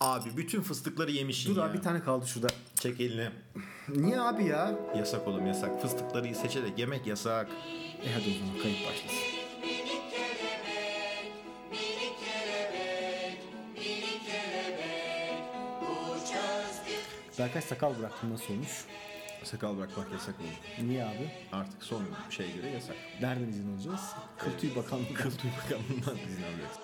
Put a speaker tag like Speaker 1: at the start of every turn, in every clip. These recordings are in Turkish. Speaker 1: Abi bütün fıstıkları yemişsin
Speaker 2: Dur
Speaker 1: ya.
Speaker 2: abi bir tane kaldı şurada.
Speaker 1: Çek elini.
Speaker 2: Niye abi ya?
Speaker 1: Yasak oğlum yasak. Fıstıkları seçerek yemek yasak.
Speaker 2: E hadi o zaman kayıt başlasın. Berkay sakal bıraktım nasıl olmuş?
Speaker 1: Sakal bırakmak yasak oğlum.
Speaker 2: Niye abi?
Speaker 1: Artık son şeye göre yasak.
Speaker 2: Nereden izin alacağız? Kıl tüy bakanlığı. Kıl tüy
Speaker 1: Bakanlığından izin alacaksın.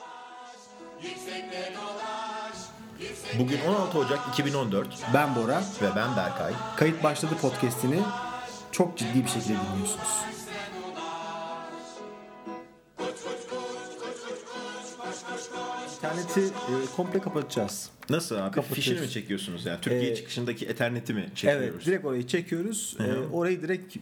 Speaker 1: Bugün 16 Ocak 2014
Speaker 2: Ben Bora.
Speaker 1: ve ben Berkay.
Speaker 2: Kayıt başladı podcast'ini çok ciddi bir şekilde dinliyorsunuz. İnterneti e, komple kapatacağız.
Speaker 1: Nasıl abi?
Speaker 2: Kapatıyoruz.
Speaker 1: Fişini mi çekiyorsunuz yani? Türkiye
Speaker 2: Ee,
Speaker 1: çıkışındaki Ethernet'i mi çekiyoruz?
Speaker 2: Evet, direkt orayı çekiyoruz. E, orayı direkt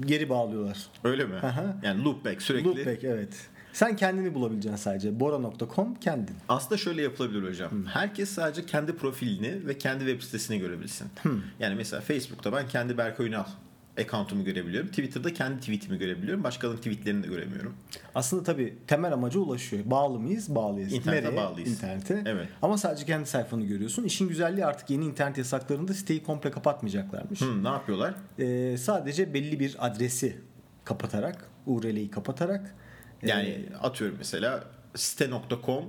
Speaker 2: geri bağlıyorlar.
Speaker 1: Öyle mi?
Speaker 2: Aha.
Speaker 1: Yani loopback sürekli.
Speaker 2: Loopback evet. Sen kendini bulabileceksin sadece. Bora.com kendin.
Speaker 1: Aslında şöyle yapılabilir hocam. Herkes sadece kendi profilini ve kendi web sitesini görebilsin. Yani mesela Facebook'ta ben kendi Berkay Ünal account'umu görebiliyorum. Twitter'da kendi tweet'imi görebiliyorum. Başkalarının tweet'lerini de göremiyorum.
Speaker 2: Aslında tabii temel amaca ulaşıyor. Bağlı mıyız? Bağlıyız.
Speaker 1: İnternete bağlıyız.
Speaker 2: İnternete.
Speaker 1: Evet.
Speaker 2: Ama sadece kendi sayfanı görüyorsun. İşin güzelliği artık yeni internet yasaklarında siteyi komple kapatmayacaklarmış.
Speaker 1: Hı, Hmm, ne yapıyorlar?
Speaker 2: Ee, sadece belli bir adresi kapatarak, URL'yi kapatarak e,
Speaker 1: Yani atıyorum mesela site.com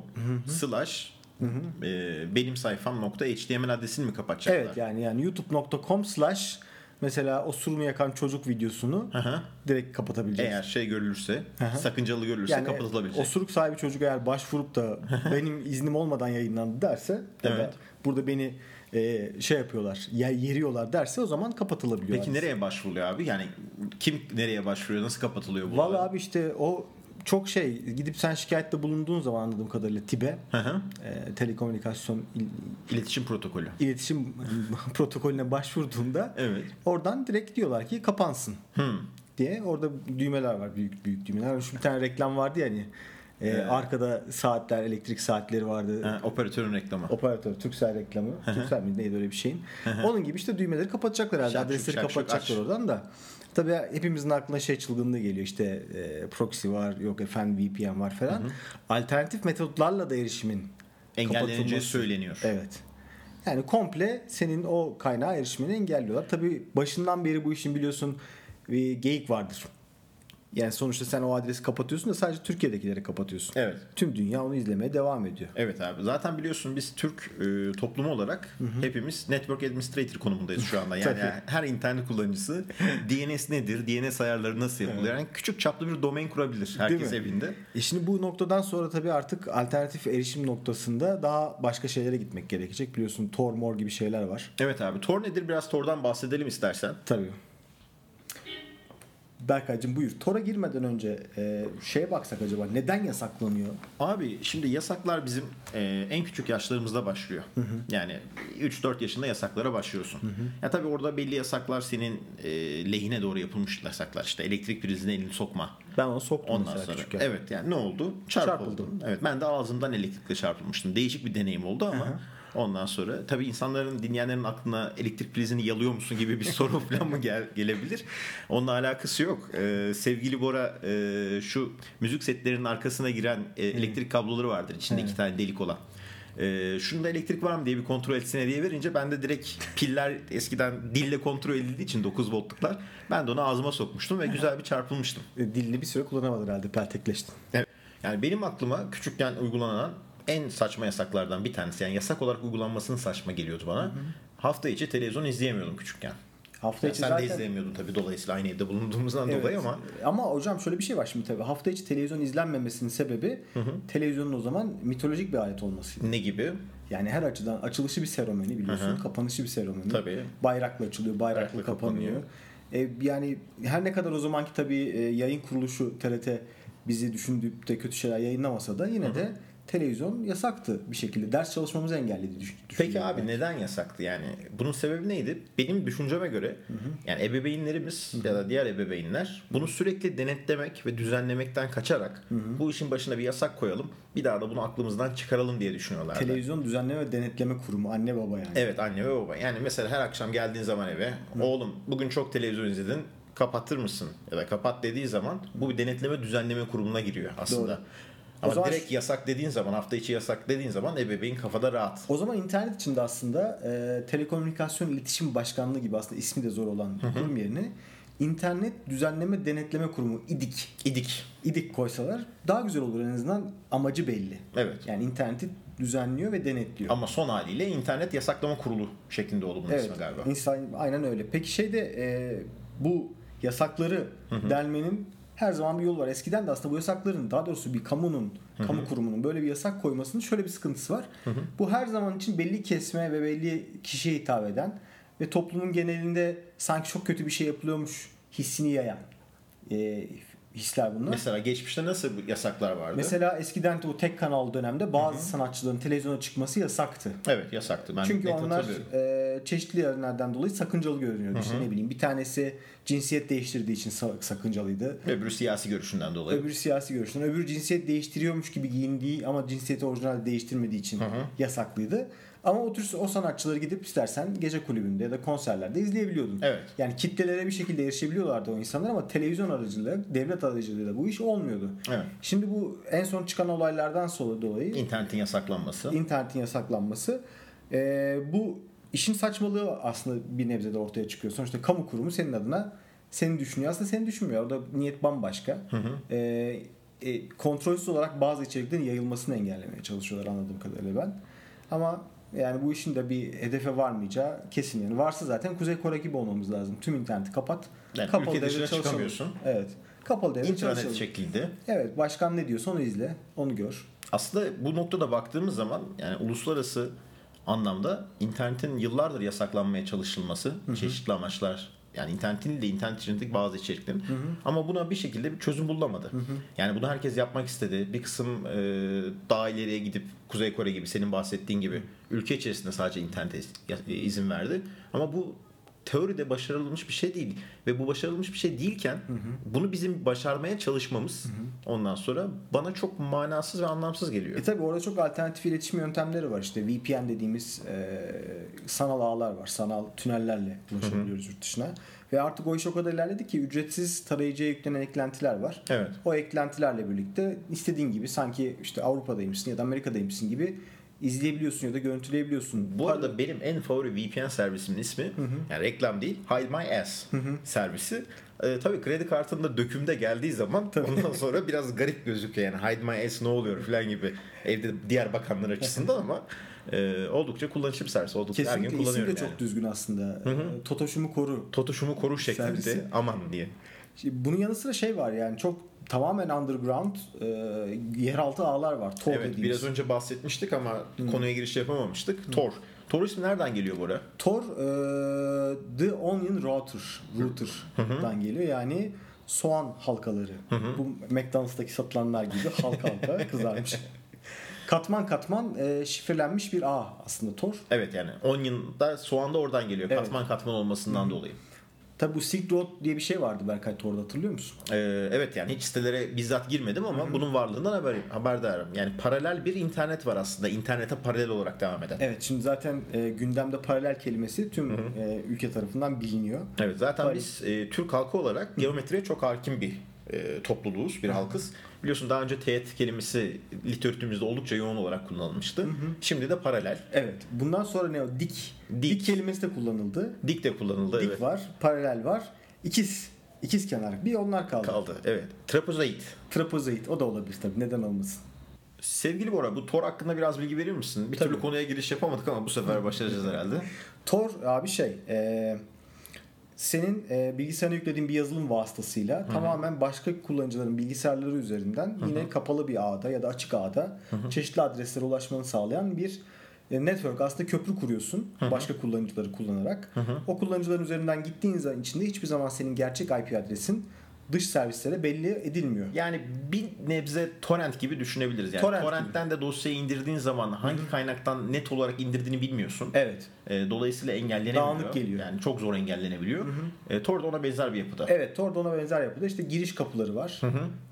Speaker 1: slash e, benim sayfam nokta HTML adresini mi kapatacaklar?
Speaker 2: evet yani yani youtube.com slash mesela o surunu yakan çocuk videosunu
Speaker 1: Aha.
Speaker 2: direkt kapatabileceğiz.
Speaker 1: Eğer şey görülürse, sakıncalı görülürse kapatılabilecek.
Speaker 2: e, osuruk sahibi çocuk eğer başvurup da benim iznim olmadan yayınlandı derse ya da
Speaker 1: Evet.
Speaker 2: burada beni e, şey yapıyorlar ya yeriyorlar derse o zaman kapatılabiliyor.
Speaker 1: Peki nereye başvuruyor abi? Yani kim nereye başvuruyor? Nasıl kapatılıyor bu?
Speaker 2: Valla abi işte o çok şey gidip sen şikayette bulunduğun zaman anladığım kadarıyla TİB'e
Speaker 1: Hı hı.
Speaker 2: e, telekomünikasyon il-
Speaker 1: İletişim protokolü.
Speaker 2: iletişim protokolüne başvurduğunda
Speaker 1: Evet.
Speaker 2: oradan direkt diyorlar ki kapansın
Speaker 1: Hmm.
Speaker 2: diye orada düğmeler var büyük büyük düğmeler. Şu bir tane reklam vardı yani e, arkada saatler elektrik saatleri vardı.
Speaker 1: Ha, operatörün reklamı.
Speaker 2: Operatör Türksel reklamı. Türksel mi neydi öyle bir şeyin. Onun gibi işte düğmeleri kapatacaklar herhalde.
Speaker 1: Şak şuk,
Speaker 2: Adresleri
Speaker 1: şak şuk,
Speaker 2: kapatacaklar
Speaker 1: aç.
Speaker 2: oradan da. Tabii hepimizin aklına şey çılgınlığı geliyor işte e, proxy var yok efendim VPN var falan. Alternatif metotlarla da erişimin
Speaker 1: Engelleneceği
Speaker 2: kapatılması.
Speaker 1: söyleniyor.
Speaker 2: Evet. Yani komple senin o kaynağa erişmeni engelliyorlar. Tabii başından beri bu işin biliyorsun bir geyik vardır. Yani sonuçta sen o adresi kapatıyorsun da sadece Türkiye'dekileri kapatıyorsun.
Speaker 1: Evet.
Speaker 2: Tüm dünya onu izlemeye devam ediyor.
Speaker 1: Evet abi. Zaten biliyorsun biz Türk e, toplumu olarak hepimiz network administrator konumundayız şu anda. Yani
Speaker 2: Tabii.
Speaker 1: her internet kullanıcısı DNS nedir, DNS ayarları nasıl yapılıyor? Yani küçük çaplı bir domain kurabilir herkes
Speaker 2: mi?
Speaker 1: evinde.
Speaker 2: E şimdi bu noktadan sonra tabii artık alternatif erişim noktasında daha başka şeylere gitmek gerekecek. Biliyorsun Tor Mor gibi şeyler var.
Speaker 1: Evet abi. Tor nedir? Biraz Tor'dan bahsedelim istersen.
Speaker 2: Tabii. Berkaycığım buyur. Tor'a girmeden önce e, şeye baksak acaba neden yasaklanıyor?
Speaker 1: Abi şimdi yasaklar bizim e, en küçük yaşlarımızda başlıyor. Yani 3-4 yaşında yasaklara başlıyorsun. Ya tabii orada belli yasaklar senin e, lehine doğru yapılmış yasaklar. İşte elektrik prizine elini sokma.
Speaker 2: Ben onu soktum
Speaker 1: Ondan
Speaker 2: mesela
Speaker 1: sonra
Speaker 2: küçükken.
Speaker 1: evet yani ne oldu? Çarpıldım.
Speaker 2: Çarpıldım.
Speaker 1: Evet ben de ağzımdan elektrikle çarpılmıştım. Değişik bir deneyim oldu ama ondan sonra tabii insanların dinleyenlerin aklına elektrik prizini yalıyor musun gibi bir soru falan mı gel- gelebilir? Onunla alakası yok. Ee, sevgili Bora e, şu müzik setlerinin arkasına giren e, elektrik kabloları vardır içinde iki tane delik olan. Ee, şunda elektrik var mı diye bir kontrol etsene diye verince ben de direkt piller eskiden dille kontrol edildiği için 9 voltluklar ben de onu ağzıma sokmuştum ve güzel bir çarpılmıştım.
Speaker 2: E, Dilini bir süre kullanamadın herhalde peltekleştin.
Speaker 1: Evet. Yani benim aklıma küçükken uygulanan en saçma yasaklardan bir tanesi. Yani yasak olarak uygulanmasının saçma geliyordu bana. Hafta içi televizyon izleyemiyordum küçükken.
Speaker 2: Hafta
Speaker 1: Yani
Speaker 2: içi
Speaker 1: sen de
Speaker 2: zaten...
Speaker 1: izleyemiyordun tabii dolayısıyla aynı evde bulunduğumuzdan
Speaker 2: Evet.
Speaker 1: dolayı ama
Speaker 2: Ama hocam şöyle bir şey var şimdi tabii. Hafta içi televizyon izlenmemesinin sebebi televizyonun o zaman mitolojik bir alet olmasıydı.
Speaker 1: ne gibi?
Speaker 2: Yani her açıdan açılışı bir seremoni biliyorsun, kapanışı bir seremoni.
Speaker 1: Tabii.
Speaker 2: Bayrakla açılıyor, bayrakla,
Speaker 1: Bayrakla
Speaker 2: kapanıyor. E, yani her ne kadar o zamanki tabii e, yayın kuruluşu TRT bizi düşündüğüp de kötü şeyler yayınlamasa da yine de televizyon yasaktı bir şekilde. Ders çalışmamızı engelledi düş-
Speaker 1: Peki
Speaker 2: düşünüyorum
Speaker 1: abi
Speaker 2: ben.
Speaker 1: neden yasaktı yani? Bunun sebebi neydi? Benim düşünceme göre yani ebeveynlerimiz ya da diğer ebeveynler bunu sürekli denetlemek ve düzenlemekten kaçarak bu işin başına bir yasak koyalım. Bir daha da bunu aklımızdan çıkaralım diye düşünüyorlardı.
Speaker 2: Televizyon Düzenleme ve Denetleme Kurumu anne baba yani.
Speaker 1: Evet anne ve baba. Yani mesela her akşam geldiğin zaman eve oğlum bugün çok televizyon izledin kapatır mısın? Ya da kapat dediği zaman bu bir denetleme düzenleme kurumuna giriyor aslında. Ama
Speaker 2: zaman-
Speaker 1: direkt yasak dediğin zaman hafta içi yasak dediğin zaman ebeveyn kafada rahat.
Speaker 2: O zaman internet içinde aslında e, Telekomünikasyon İletişim Başkanlığı gibi aslında ismi de zor olan bir kurum yerine İnternet Düzenleme Denetleme Kurumu İDİK
Speaker 1: İdik.
Speaker 2: İdik koysalar daha güzel olur en azından amacı belli.
Speaker 1: Evet.
Speaker 2: Yani interneti düzenliyor ve denetliyor.
Speaker 1: Ama son haliyle internet yasaklama kurulu şeklinde oldu bunun
Speaker 2: evet.
Speaker 1: ismi galiba.
Speaker 2: insan aynen öyle. Peki şeyde e, bu yasakları delmenin her zaman bir yolu var. Eskiden de aslında bu yasakların daha doğrusu bir kamunun, kamu kurumunun böyle bir yasak koymasının şöyle bir sıkıntısı var. Bu her zaman için belli kesme ve belli kişiye hitap eden ve toplumun genelinde sanki çok kötü bir şey yapılıyormuş hissini yayan e, hisler bunlar.
Speaker 1: Mesela geçmişte nasıl bu yasaklar vardı?
Speaker 2: Mesela eskiden de o tek kanal dönemde bazı sanatçıların televizyona çıkması yasaktı.
Speaker 1: evet yasaktı. Ben
Speaker 2: Çünkü
Speaker 1: net
Speaker 2: onlar
Speaker 1: hatırlıyorum.
Speaker 2: e, çeşitli nedenlerden dolayı sakıncalı görünüyordu. İşte ne bileyim bir tanesi cinsiyet değiştirdiği için sa- sakıncalıydı.
Speaker 1: Öbürü siyasi görüşünden dolayı.
Speaker 2: Öbürü siyasi görüşten, öbürü cinsiyet değiştiriyormuş gibi giyindiği ama cinsiyeti orijinal değiştirmediği için yasaklıydı. Ama o tür o sanatçıları gidip istersen gece kulübünde ya da konserlerde izleyebiliyordun.
Speaker 1: Evet.
Speaker 2: Yani kitlelere bir şekilde erişebiliyorlardı o insanlar ama televizyon aracılığıyla, devlet aracılığıyla bu iş olmuyordu.
Speaker 1: Evet.
Speaker 2: Şimdi bu en son çıkan olaylardan sonra dolayı
Speaker 1: İnternetin yasaklanması.
Speaker 2: internetin yasaklanması. Ee, bu işin saçmalığı aslında bir nebzede ortaya çıkıyor. Sonuçta kamu kurumu senin adına seni düşünüyor. Aslında seni düşünmüyor. Orada niyet bambaşka. Ee, e, kontrolsüz olarak bazı içeriklerin yayılmasını engellemeye çalışıyorlar anladığım kadarıyla ben. Ama yani bu işin de bir hedefe varmayacağı kesin. Yani varsa zaten Kuzey Kore gibi olmamız lazım. Tüm interneti kapat.
Speaker 1: Yani ülke
Speaker 2: devre
Speaker 1: dışına
Speaker 2: çalışalım.
Speaker 1: çıkamıyorsun.
Speaker 2: Evet. Kapalı devre
Speaker 1: İnternet
Speaker 2: çalışalım.
Speaker 1: şeklinde.
Speaker 2: Evet. Başkan ne diyorsa onu izle. Onu gör.
Speaker 1: Aslında bu noktada baktığımız zaman yani uluslararası anlamda internetin yıllardır yasaklanmaya çalışılması çeşitli amaçlar yani internetin de internet içindeki bazı içeriklerin ama buna bir şekilde bir çözüm bulunamadı. Yani bunu herkes yapmak istedi. Bir kısım e, daha ileriye gidip Kuzey Kore gibi senin bahsettiğin gibi ülke içerisinde sadece internete iz- e, izin verdi. Ama bu teoride başarılmış bir şey değil ve bu başarılmış bir şey değilken bunu bizim başarmaya çalışmamız ondan sonra bana çok manasız ve anlamsız geliyor.
Speaker 2: E tabi orada çok alternatif iletişim yöntemleri var. İşte VPN dediğimiz e, sanal ağlar var. Sanal tünellerle ulaşabiliyoruz yurt dışına. Ve artık o iş o kadar ilerledi ki ücretsiz tarayıcıya yüklenen eklentiler var.
Speaker 1: Evet.
Speaker 2: O eklentilerle birlikte istediğin gibi sanki işte Avrupa'daymışsın ya da Amerika'daymışsın gibi izleyebiliyorsun ya da görüntüleyebiliyorsun.
Speaker 1: Bu arada benim en favori VPN servisimin ismi yani reklam değil Hide My Ass servisi. Ee, tabii kredi kartında dökümde geldiği zaman ondan sonra biraz garip gözüküyor yani Hide My Ass ne oluyor falan gibi evde diğer bakanlar açısından ama e, oldukça kullanışlı bir servis. Oldukça her
Speaker 2: Kesinlikle
Speaker 1: gün
Speaker 2: isim de
Speaker 1: kullanıyorum
Speaker 2: çok
Speaker 1: yani.
Speaker 2: düzgün aslında. E, Totoşumu koru.
Speaker 1: Totuşumu koru şeklinde
Speaker 2: Servisi.
Speaker 1: aman diye.
Speaker 2: Şimdi bunun yanı sıra şey var yani çok tamamen underground e, yeraltı ağlar var. Tor
Speaker 1: Evet
Speaker 2: dediğimiz.
Speaker 1: biraz önce bahsetmiştik ama konuya giriş yapamamıştık. Tor. Tor ismi nereden geliyor Bora?
Speaker 2: Tor e, The Onion Router, router'dan geliyor. Yani soğan halkaları. Bu McDonald's'taki satılanlar gibi halka halka kızarmış. Katman katman e, şifrelenmiş bir ağ aslında Tor.
Speaker 1: Evet yani onion'da soğan da oradan geliyor.
Speaker 2: Evet.
Speaker 1: Katman katman olmasından dolayı.
Speaker 2: Tabi bu Silk Road diye bir şey vardı Berkay Tor'da hatırlıyor musun?
Speaker 1: Ee, evet yani hiç sitelere bizzat girmedim ama bunun varlığından haber, haberdarım. Yani paralel bir internet var aslında. İnternete paralel olarak devam eden. Evet,
Speaker 2: Evet şimdi zaten e, gündemde paralel kelimesi tüm e, ülke tarafından biliniyor.
Speaker 1: zaten
Speaker 2: Paralel.
Speaker 1: biz e, Türk halkı olarak geometriye çok hakim bir e, topluluğuz, bir halkız. Biliyorsun daha önce teğet kelimesi literatürümüzde oldukça yoğun olarak kullanılmıştı. Şimdi de paralel.
Speaker 2: Evet bundan sonra ne o? Dik. Dik,
Speaker 1: Dik.
Speaker 2: kelimesi de kullanıldı.
Speaker 1: Dik de kullanıldı.
Speaker 2: Dik
Speaker 1: evet.
Speaker 2: var, paralel var. İkiz. İkiz kenar. Bir onlar kaldı.
Speaker 1: Kaldı. Evet. Trapezoid.
Speaker 2: Trapezoid o da olabilir tabii neden olmasın.
Speaker 1: Sevgili Bora bu Tor hakkında biraz bilgi verir misin? Bir türlü konuya giriş yapamadık ama bu sefer başaracağız herhalde.
Speaker 2: Tor abi şey e, senin e, bilgisayarına yüklediğin bir yazılım vasıtasıyla tamamen başka kullanıcıların bilgisayarları üzerinden yine kapalı bir ağda ya da açık ağda çeşitli adreslere ulaşmanı sağlayan bir e, network aslında köprü kuruyorsun başka kullanıcıları kullanarak. O kullanıcıların üzerinden gittiğin zaman içinde hiçbir zaman senin gerçek IP adresin dış servislere belli edilmiyor.
Speaker 1: Yani bir nebze torrent gibi düşünebiliriz. Yani
Speaker 2: Torrent
Speaker 1: torrentten de dosyayı indirdiğin zaman hangi kaynaktan net olarak indirdiğini bilmiyorsun.
Speaker 2: Evet.
Speaker 1: E, dolayısıyla engellenemiyor.
Speaker 2: Dağınık geliyor.
Speaker 1: Yani çok zor engellenebiliyor. E, Tor da ona benzer bir yapıda.
Speaker 2: Evet Tor'da ona benzer yapıda işte giriş kapıları var.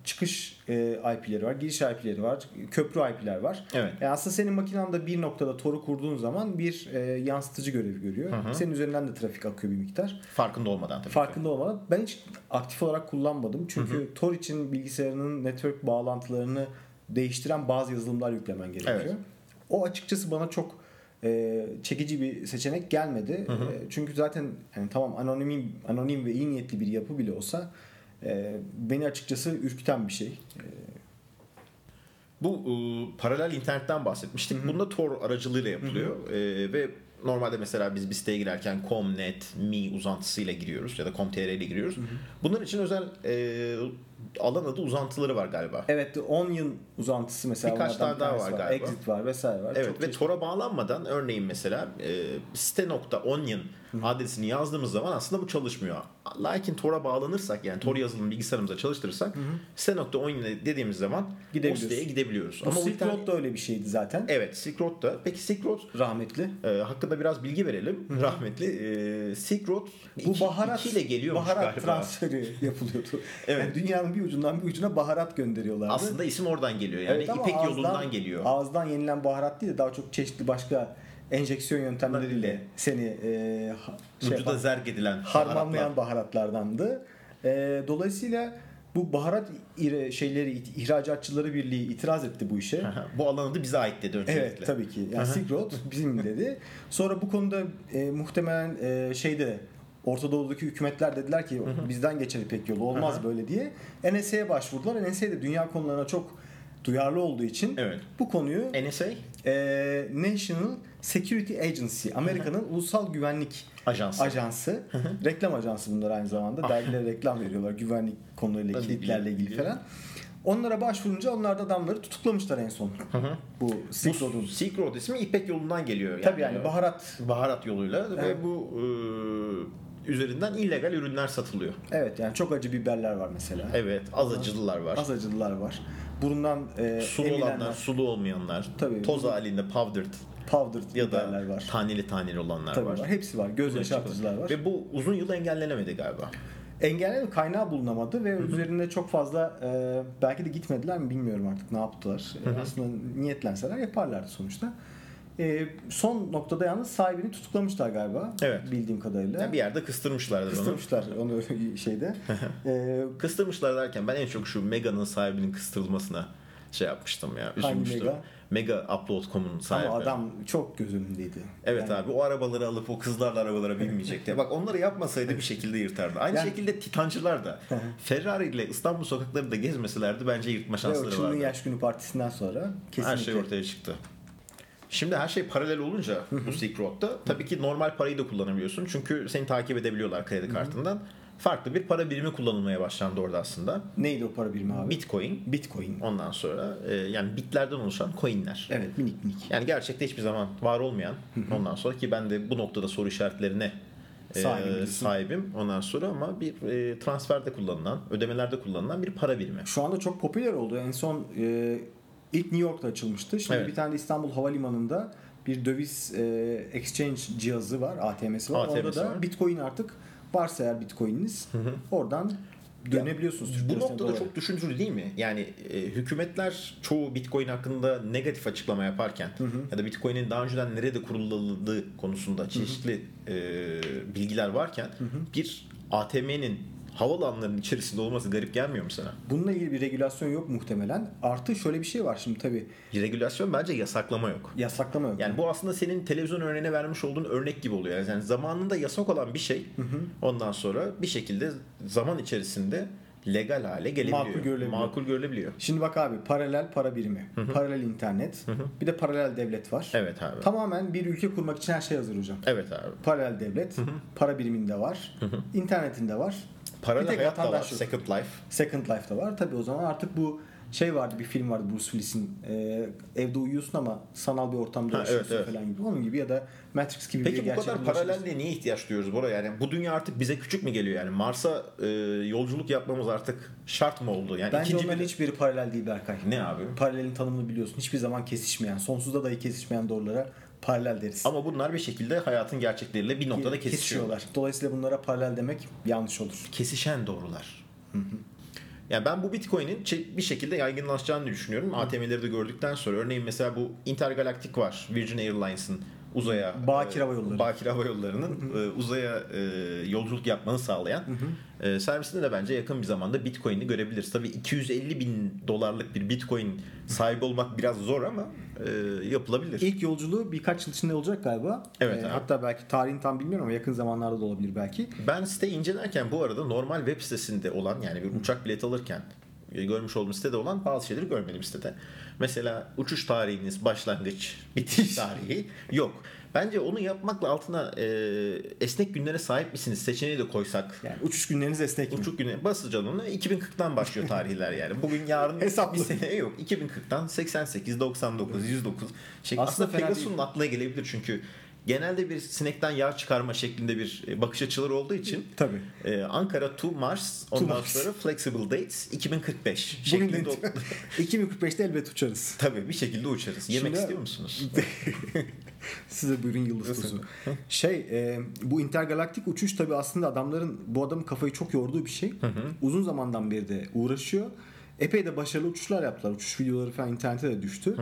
Speaker 2: Çıkış e, IP'leri var. Giriş IP'leri var. Köprü IP'ler var.
Speaker 1: Evet.
Speaker 2: Yani aslında senin makinanda bir noktada Tor'u kurduğun zaman bir e, yansıtıcı görevi görüyor. Senin üzerinden de trafik akıyor bir miktar.
Speaker 1: Farkında olmadan tabii. ki.
Speaker 2: Farkında olmadan ben hiç aktif olarak kullanmadım. Çünkü Tor için bilgisayarının network bağlantılarını değiştiren bazı yazılımlar yüklemen gerekiyor.
Speaker 1: Evet.
Speaker 2: O açıkçası bana çok e, çekici bir seçenek gelmedi. E, çünkü zaten yani tamam anonim anonim ve iyi niyetli bir yapı bile olsa e, beni açıkçası ürküten bir şey.
Speaker 1: Bu e, paralel internetten bahsetmiştik. Bunda Tor aracılığıyla yapılıyor E, ve normalde mesela biz bir siteye girerken .com.net, .me uzantısıyla giriyoruz ya da .com.tr ile giriyoruz. Bunlar için özel e, alan adı uzantıları var galiba.
Speaker 2: Evet The Onion uzantısı mesela.
Speaker 1: Birkaç
Speaker 2: onlardan
Speaker 1: tane
Speaker 2: bir
Speaker 1: daha
Speaker 2: tanesi
Speaker 1: var galiba.
Speaker 2: Exit var vesaire var.
Speaker 1: Evet
Speaker 2: Çok
Speaker 1: ve Tor'a bağlanmadan örneğin mesela e, site.onion adresini yazdığımız zaman aslında bu çalışmıyor. Lakin Tor'a bağlanırsak yani Tor yazılımı bilgisayarımıza çalıştırırsak site.onion dediğimiz zaman o
Speaker 2: Gidebiliyoruz.
Speaker 1: siteye gidebiliyoruz.
Speaker 2: Bu Silk
Speaker 1: internet-
Speaker 2: Road da öyle bir şeydi zaten.
Speaker 1: Evet Silk Road da. Peki Silk Road
Speaker 2: Rahmetli.
Speaker 1: e, hakkında biraz bilgi verelim. Rahmetli e, Silk Road
Speaker 2: Bu
Speaker 1: iki-
Speaker 2: baharat
Speaker 1: ikiyle geliyormuş
Speaker 2: baharat
Speaker 1: galiba.
Speaker 2: transferi yapılıyordu.
Speaker 1: Evet.
Speaker 2: Yani dünyanın bir ucundan bir ucuna baharat gönderiyorlardı.
Speaker 1: Aslında isim oradan geliyor. Yani
Speaker 2: Evet ama
Speaker 1: İpek
Speaker 2: ağızdan-
Speaker 1: yolundan geliyor.
Speaker 2: Ağızdan yenilen baharat değil de daha çok çeşitli başka enjeksiyon yöntemleriyle seni e, ha- şey
Speaker 1: Vücuda
Speaker 2: yapan,
Speaker 1: zerk edilen baharatlar.
Speaker 2: harmanlayan baharatlardandı. E, dolayısıyla bu baharat ire- şeyleri it- ihracatçıları birliği itiraz etti bu işe.
Speaker 1: Aha, Bu alan adı bize ait dedi öncelikle.
Speaker 2: Evet tabii ki. Yani Silk Road bizim dedi. Sonra bu konuda e, muhtemelen e, şeyde Orta Doğu'daki hükümetler dediler ki bizden geçer İpek yolu olmaz böyle diye. NSA'ya başvurdular. NSA de dünya konularına çok duyarlı olduğu için
Speaker 1: Evet.
Speaker 2: bu konuyu
Speaker 1: NSA
Speaker 2: e, National Security Agency Amerika'nın ulusal güvenlik
Speaker 1: ajansı. Ah.
Speaker 2: ajansı. reklam ajansı bunlar aynı zamanda. Dergilere reklam veriyorlar güvenlik konularıyla,
Speaker 1: Tabii,
Speaker 2: kilitlerle
Speaker 1: biliyorum,
Speaker 2: ilgili falan. Onlara başvurunca onlar da adamları tutuklamışlar en son. Bu Silk
Speaker 1: Bu
Speaker 2: Road'un.
Speaker 1: Silk Road ismi İpek yolundan geliyor. Yani. e,
Speaker 2: Tabii yani baharat.
Speaker 1: baharat yoluyla
Speaker 2: Evet.
Speaker 1: ve bu e, üzerinden illegal ürünler satılıyor.
Speaker 2: Evet yani çok acı biberler var mesela.
Speaker 1: Evet, az acılılar var.
Speaker 2: Az acılılar var. Burundan e,
Speaker 1: sulu
Speaker 2: emilenler,
Speaker 1: olanlar, sulu olmayanlar.
Speaker 2: Tabii.
Speaker 1: toz halinde powdered
Speaker 2: powdered
Speaker 1: ya da
Speaker 2: biberler var.
Speaker 1: taneli taneli olanlar
Speaker 2: Tabii
Speaker 1: var.
Speaker 2: var. Hepsi var. Göz yaşartıcılar var.
Speaker 1: Ve bu uzun yıl engellenemedi galiba.
Speaker 2: Engellerin kaynağı bulunamadı ve üzerinde çok fazla e, belki de gitmediler mi bilmiyorum artık ne yaptılar. E, aslında niyetlenseler yaparlardı sonuçta. E, son noktada yalnız sahibini tutuklamışlar galiba.
Speaker 1: Evet.
Speaker 2: Bildiğim kadarıyla.
Speaker 1: Yani bir yerde kıstırmışlardır onu.
Speaker 2: Kıstırmışlar onu şeyde. E,
Speaker 1: Kıstırmışlar derken ben en çok şu Mega'nın sahibinin kıstırılmasına şey yapmıştım ya.
Speaker 2: Hangi
Speaker 1: Üzülmüştüm.
Speaker 2: Mega?
Speaker 1: Mega Upload.com'un sahibi.
Speaker 2: ama adam çok göz önündeydi.
Speaker 1: Evet abi o arabaları alıp o kızlarla arabalara binmeyecekti. Bak onları yapmasaydı bir şekilde yırtardı. Aynı
Speaker 2: Yani-
Speaker 1: şekilde Titancılar da
Speaker 2: hı.
Speaker 1: Ferrari ile İstanbul sokaklarında gezmeselerdi bence yırtma
Speaker 2: Ve o
Speaker 1: şansları
Speaker 2: çılgın
Speaker 1: vardı.
Speaker 2: yaş günü partisinden sonra kesinlikle.
Speaker 1: Her şey ortaya çıktı. Şimdi her şey paralel olunca bu Silk Road'da tabii ki normal parayı da kullanabiliyorsun. Çünkü seni takip edebiliyorlar kredi kartından. Farklı bir para birimi kullanılmaya başlandı orada aslında.
Speaker 2: Neydi o para birimi abi?
Speaker 1: Bitcoin.
Speaker 2: Bitcoin.
Speaker 1: Ondan sonra e, yani bitlerden oluşan coinler.
Speaker 2: Evet minik minik.
Speaker 1: Yani gerçekte hiçbir zaman var olmayan ondan sonra ki ben de bu noktada soru işaretlerine e,
Speaker 2: Sahibim
Speaker 1: sahibim,
Speaker 2: diyorsun.
Speaker 1: ondan sonra ama bir e, transferde kullanılan, ödemelerde kullanılan bir para birimi.
Speaker 2: Şu anda çok popüler oldu. En son e, ilk New York'ta açılmıştı. Şimdi
Speaker 1: Evet.
Speaker 2: bir tane de İstanbul Havalimanı'nda bir döviz e, exchange cihazı var, ATM'si var. Orada
Speaker 1: ATM'si
Speaker 2: da
Speaker 1: var.
Speaker 2: Bitcoin artık varsa eğer Bitcoin'iniz oradan dönebiliyorsunuz. Türk
Speaker 1: Bu
Speaker 2: lirasına,
Speaker 1: noktada
Speaker 2: dolara.
Speaker 1: çok düşünceli değil mi? Yani e, hükümetler çoğu Bitcoin hakkında negatif açıklama yaparken ya da Bitcoin'in daha önceden nerede kurulduğu konusunda çeşitli e, bilgiler varken bir ATM'nin havalanların içerisinde olması garip gelmiyor mu sana?
Speaker 2: Bununla ilgili bir regülasyon yok muhtemelen. Artı şöyle bir şey var şimdi tabii
Speaker 1: Regülasyon bence yasaklama yok.
Speaker 2: yasaklama yok.
Speaker 1: Yani bu aslında senin televizyon örneğine vermiş olduğun örnek gibi oluyor. Yani zamanında yasak olan bir şey ondan sonra bir şekilde zaman içerisinde legal hale gelebiliyor.
Speaker 2: Makul görülebiliyor.
Speaker 1: Makul görülebiliyor.
Speaker 2: Şimdi bak abi paralel para birimi, paralel internet, bir de paralel devlet var.
Speaker 1: Evet abi.
Speaker 2: Tamamen bir ülke kurmak için her şey hazır hocam.
Speaker 1: Evet abi.
Speaker 2: Paralel devlet, para biriminde var, internetinde var,
Speaker 1: Paralel
Speaker 2: Bir tek
Speaker 1: hayat da var.
Speaker 2: vatandaş yok.
Speaker 1: Second Life.
Speaker 2: Second Life'da var. Tabii o zaman artık bu şey vardı bir film vardı Bruce Willis'in e, evde uyuyorsun ama sanal bir ortamda
Speaker 1: Ha,
Speaker 2: yaşıyorsun
Speaker 1: evet, evet.
Speaker 2: falan gibi. Onun gibi ya da Matrix gibi bir
Speaker 1: Peki bu
Speaker 2: gerçek
Speaker 1: kadar
Speaker 2: bir yaşıyorsun.
Speaker 1: paralelliğe niye ihtiyaç duyuyoruz Bora? Yani bu dünya artık bize küçük mü geliyor? Yani Mars'a e, yolculuk yapmamız artık şart mı oldu? Yani
Speaker 2: Bence
Speaker 1: ikinci
Speaker 2: onların
Speaker 1: bir...
Speaker 2: hiçbiri paralel değil Berkay.
Speaker 1: Ne abi?
Speaker 2: Paralelin tanımını biliyorsun. Hiçbir zaman kesişmeyen, sonsuzda dahi kesişmeyen doğrulara paralel deriz.
Speaker 1: Ama bunlar bir şekilde hayatın gerçekleriyle bir noktada kesişiyor.
Speaker 2: Dolayısıyla bunlara paralel demek yanlış olur.
Speaker 1: kesişen doğrular. Yani ben bu Bitcoin'in çe- bir şekilde yaygınlaşacağını düşünüyorum. ATM'leri de gördükten sonra. Örneğin mesela bu Intergalactic var. Virgin Airlines'ın uzaya
Speaker 2: Bakir
Speaker 1: e,
Speaker 2: Hava Yolları.
Speaker 1: Bakir Hava Yolları'nın e, uzaya e, yolculuk yapmanı sağlayan e, servisinde de bence yakın bir zamanda Bitcoin'i görebiliriz. Tabii 250 bin dolarlık bir Bitcoin sahibi olmak biraz zor ama e, yapılabilir.
Speaker 2: İlk yolculuğu birkaç yıl içinde olacak galiba. Ee,
Speaker 1: Evet abi.
Speaker 2: hatta belki tarihini tam bilmiyorum ama yakın zamanlarda da olabilir belki.
Speaker 1: Ben site incelerken bu arada normal web sitesinde olan yani bir uçak bileti alırken e, görmüş olduğum sitede olan bazı şeyleri görmedim sitede. Mesela uçuş tarihiniz, başlangıç, bitiş tarihi yok. Bence onu yapmakla altına e, esnek günlere sahip misiniz seçeneği de koysak.
Speaker 2: Yani uçuş günleriniz esnek mi?
Speaker 1: Uçuk güne basacaksın onu 2040'tan başlıyor tarihler yani. Bugün yarın
Speaker 2: Hesaplı.
Speaker 1: bir sene yok. 2040'tan 88, 99, 109. Şey,
Speaker 2: Aslında
Speaker 1: aslında
Speaker 2: fena
Speaker 1: Pegasus'un aklına gelebilir çünkü genelde bir sinekten yağ çıkarma şeklinde bir e, bakış açıları olduğu için
Speaker 2: Tabii.
Speaker 1: ee, Ankara to Mars ondan
Speaker 2: Mars.
Speaker 1: sonra flexible dates 2045
Speaker 2: Bugün
Speaker 1: şeklinde
Speaker 2: de- 2045'te elbet uçarız.
Speaker 1: tabii bir şekilde uçarız. Yemek
Speaker 2: Şimdi-
Speaker 1: istiyor musunuz?
Speaker 2: Size buyurun yıldız tuzu. Şey e, bu intergalaktik uçuş tabii aslında adamların bu adamın kafayı çok yorduğu bir şey. Uzun zamandan beri de uğraşıyor. Epey de başarılı uçuşlar yaptılar. Uçuş videoları falan internete de düştü.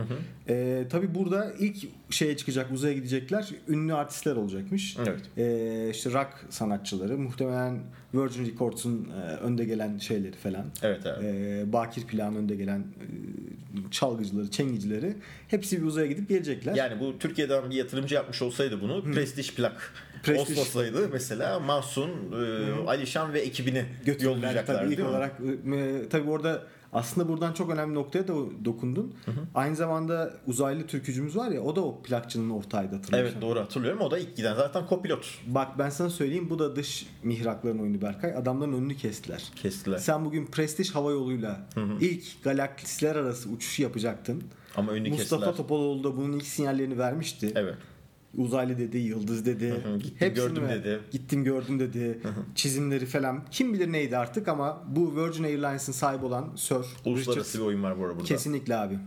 Speaker 2: E, tabii burada ilk şeye çıkacak uzaya gidecekler ünlü artistler olacakmış.
Speaker 1: Evet.
Speaker 2: E, işte rock sanatçıları muhtemelen Virgin Records'un e, önde gelen şeyleri falan.
Speaker 1: Evet abi.
Speaker 2: Ee, Bakir Plan önde gelen e, çalgıcıları, çengicileri hepsi bir uzaya gidip gelecekler.
Speaker 1: Yani bu Türkiye'den bir yatırımcı yapmış olsaydı bunu prestij plak
Speaker 2: Prestij.
Speaker 1: Oslo'saydı mesela Mahsun, e, Alişan ve ekibini
Speaker 2: Götürürler
Speaker 1: yollayacaklar
Speaker 2: tabii ilk
Speaker 1: değil mi?
Speaker 2: olarak. E, tabii orada aslında buradan çok önemli noktaya da dokundun. Aynı zamanda uzaylı türkücümüz var ya o da o plakçının ortağıydı hatırlıyorsun.
Speaker 1: Evet doğru hatırlıyorum. O da ilk giden zaten kopilot
Speaker 2: Bak ben sana söyleyeyim bu da dış mihrakların oyunu Berkay. Adamların önünü kestiler.
Speaker 1: kestiler.
Speaker 2: Sen bugün prestij hava yoluyla ilk galaktisler arası uçuşu yapacaktın.
Speaker 1: Ama önünü
Speaker 2: Mustafa
Speaker 1: kestiler.
Speaker 2: Topaloğlu da bunun ilk sinyallerini vermişti.
Speaker 1: Evet.
Speaker 2: Uzaylı dedi, yıldız dedi.
Speaker 1: hı, gittim
Speaker 2: hepsini
Speaker 1: gördüm
Speaker 2: ver-
Speaker 1: dedi.
Speaker 2: Gittim gördüm dedi. Çizimleri falan. Kim bilir neydi artık ama bu Virgin Airlines'ın sahibi olan Sir
Speaker 1: Uluslararası
Speaker 2: Richard
Speaker 1: bir oyun var bu arada burada.
Speaker 2: kesinlikle abi.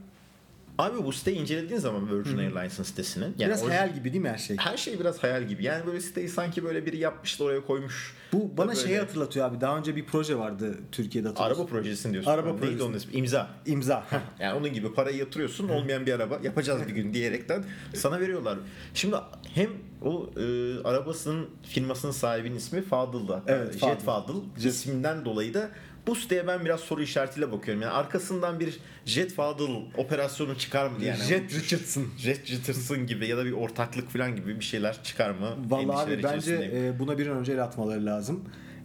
Speaker 1: Abi bu siteyi incelediğin zaman Virgin Airlines'ın sitesini. Yani
Speaker 2: Biraz
Speaker 1: orijin-
Speaker 2: hayal gibi değil mi her şey?
Speaker 1: Her şey biraz hayal gibi. Yani böyle siteyi sanki böyle biri yapmış da oraya koymuş.
Speaker 2: Bu bana
Speaker 1: Böyle-
Speaker 2: şeyi hatırlatıyor abi. Daha önce bir proje vardı Türkiye'de hatırlıyorsun.
Speaker 1: Araba projesini diyorsun.
Speaker 2: Araba
Speaker 1: Neydi
Speaker 2: projesi.
Speaker 1: onun ismi? İmza.
Speaker 2: imza.
Speaker 1: Yani onun gibi parayı yatırıyorsun olmayan bir araba yapacağız bir gün diyerekten sana veriyorlar. Şimdi hem o e, arabasının firmasının sahibinin ismi Fadıl'da.
Speaker 2: Evet,
Speaker 1: Jet
Speaker 2: Fadıl.
Speaker 1: Fadıl. isminden dolayı da bu siteye ben biraz soru işaretiyle bakıyorum. Yani arkasından bir Jet Fadıl operasyonu çıkar mı diye. Yani
Speaker 2: Jet Richardson.
Speaker 1: Jet Jitterson gibi ya da bir ortaklık falan gibi bir şeyler çıkar mı?
Speaker 2: Vallahi
Speaker 1: Endişeleri
Speaker 2: abi bence
Speaker 1: içerisindeyim.
Speaker 2: e, buna bir an önce el atmaları lazım.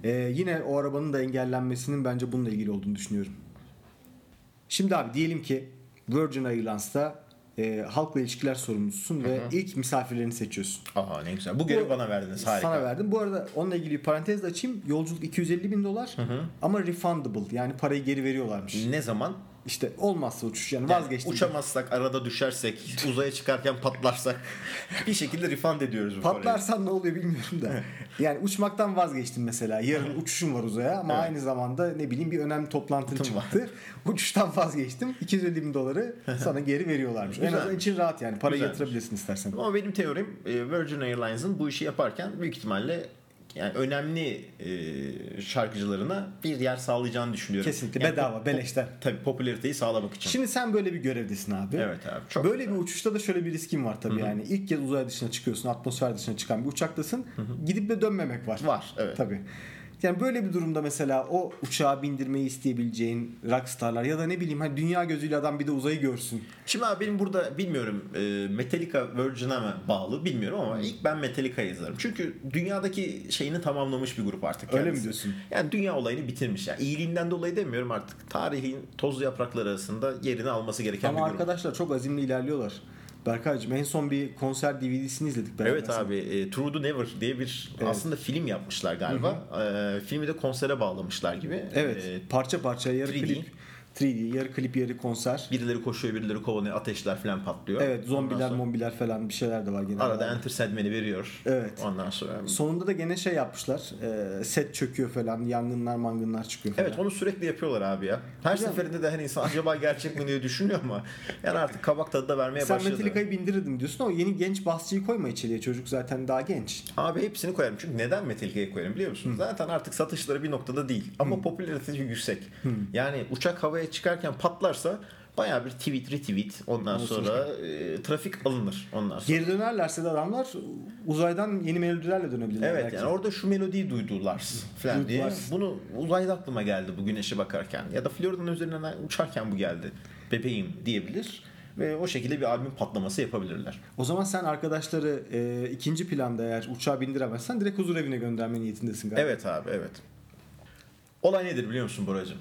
Speaker 2: E, yine o arabanın da engellenmesinin bence bununla ilgili olduğunu düşünüyorum. Şimdi abi diyelim ki Virgin Airlines'ta e, halkla ilişkiler sorumlususun ve ilk misafirlerini seçiyorsun.
Speaker 1: Aha ne güzel. Bu görevi bana verdiniz. Harika.
Speaker 2: Sana verdim. Bu arada onunla ilgili bir parantez de açayım. Yolculuk 250 bin dolar ama refundable yani parayı geri veriyorlarmış.
Speaker 1: Ne zaman?
Speaker 2: İşte olmazsa uçuş yani
Speaker 1: Yani
Speaker 2: vazgeçtim.
Speaker 1: Uçamazsak, arada düşersek, uzaya çıkarken patlarsak bir şekilde refund ediyoruz bu parayı.
Speaker 2: Patlarsan ne oluyor bilmiyorum da. Yani uçmaktan vazgeçtim mesela. Yarın uçuşum var uzaya ama aynı zamanda ne bileyim bir önemli toplantın
Speaker 1: Toplantım var.
Speaker 2: çıktı. Uçuştan vazgeçtim. 250 bin doları sana geri veriyorlarmış. en azından
Speaker 1: Güzelmiş.
Speaker 2: için rahat yani. Parayı
Speaker 1: Güzelmiş.
Speaker 2: yatırabilirsin istersen.
Speaker 1: Ama benim teorim e, Virgin Airlines'ın bu işi yaparken büyük ihtimalle yani önemli e, şarkıcılarına bir yer sağlayacağını düşünüyorum.
Speaker 2: Kesinlikle
Speaker 1: Yani
Speaker 2: bedava, beleşten.
Speaker 1: Tabii popülariteyi sağlamak için.
Speaker 2: Şimdi sen böyle bir görevdesin abi.
Speaker 1: Evet abi, çok
Speaker 2: böyle bir uçuşta da şöyle bir riskin var tabii yani. İlk kez uzay dışına çıkıyorsun, atmosfer dışına çıkan bir uçaktasın. Gidip de dönmemek var.
Speaker 1: Var, evet.
Speaker 2: Tabii. Yani böyle bir durumda mesela o uçağa bindirmeyi isteyebileceğin rockstarlar ya da ne bileyim hani dünya gözüyle adam bir de uzayı görsün.
Speaker 1: Şimdi abi benim burada bilmiyorum e, Metallica Virgin'a mı bağlı bilmiyorum ama
Speaker 2: Hmm.
Speaker 1: ilk ben Metallica'yı yazarım. Çünkü dünyadaki şeyini tamamlamış bir grup artık.
Speaker 2: Öyle mi
Speaker 1: kendisi.
Speaker 2: diyorsun?
Speaker 1: Yani dünya olayını bitirmiş. Yani iyiliğinden dolayı demiyorum artık. Tarihin tozlu yaprakları arasında yerini alması gereken
Speaker 2: Ama
Speaker 1: bir grup.
Speaker 2: arkadaşlar çok azimli ilerliyorlar. Berkaycığım en son bir konser DVD'sini izledik beraber.
Speaker 1: Evet abi e, True the Never diye bir
Speaker 2: Evet.
Speaker 1: aslında film yapmışlar galiba. E, filmi de konsere bağlamışlar gibi.
Speaker 2: Evet.
Speaker 1: E,
Speaker 2: parça parça yarı
Speaker 1: 3D.
Speaker 2: klip. 3D yarı klip yarı konser.
Speaker 1: birileri koşuyor, birileri kovalıyor, ateşler falan patlıyor.
Speaker 2: Evet
Speaker 1: Ondan
Speaker 2: zombiler
Speaker 1: sonra
Speaker 2: mombiler falan bir şeyler de var genelde.
Speaker 1: arada Enter Sandman'i veriyor.
Speaker 2: Evet.
Speaker 1: Ondan sonra
Speaker 2: Sonunda da gene şey yapmışlar. e, set çöküyor falan. Yangınlar mangınlar çıkıyor falan.
Speaker 1: Evet onu sürekli yapıyorlar abi ya. Her
Speaker 2: Güzel.
Speaker 1: seferinde de hani insan acaba gerçek mi diye düşünüyor ama yani artık kabak tadı da vermeye
Speaker 2: Sen
Speaker 1: başladı.
Speaker 2: Metallica'yı bindirirdim diyorsun ama yeni genç basçıyı koyma içeriye. Çocuk zaten daha genç.
Speaker 1: Abi hepsini koyarım. Çünkü neden Metallica'yı koyarım biliyor musun? Zaten artık satışları bir noktada değil. Ama popülaritesi yüksek. Yani uçak havaya çıkarken patlarsa Bayağı bir tweet retweet ondan
Speaker 2: Olsun.
Speaker 1: sonra e, trafik alınır ondan sonra.
Speaker 2: Geri dönerlerse de adamlar uzaydan yeni melodilerle dönebilirler.
Speaker 1: Evet
Speaker 2: belki.
Speaker 1: yani orada şu melodiyi duydular falan diye.
Speaker 2: Duydular.
Speaker 1: Bunu uzayda aklıma geldi bu güneşe bakarken. Ya da Florida'nın üzerinden uçarken bu geldi. Bebeğim diyebilir. Ve o şekilde bir albüm patlaması yapabilirler.
Speaker 2: O zaman sen arkadaşları e, ikinci planda eğer uçağa bindiremezsen direkt huzur evine gönderme niyetindesin galiba.
Speaker 1: Evet abi evet. Olay nedir biliyor musun Boracığım?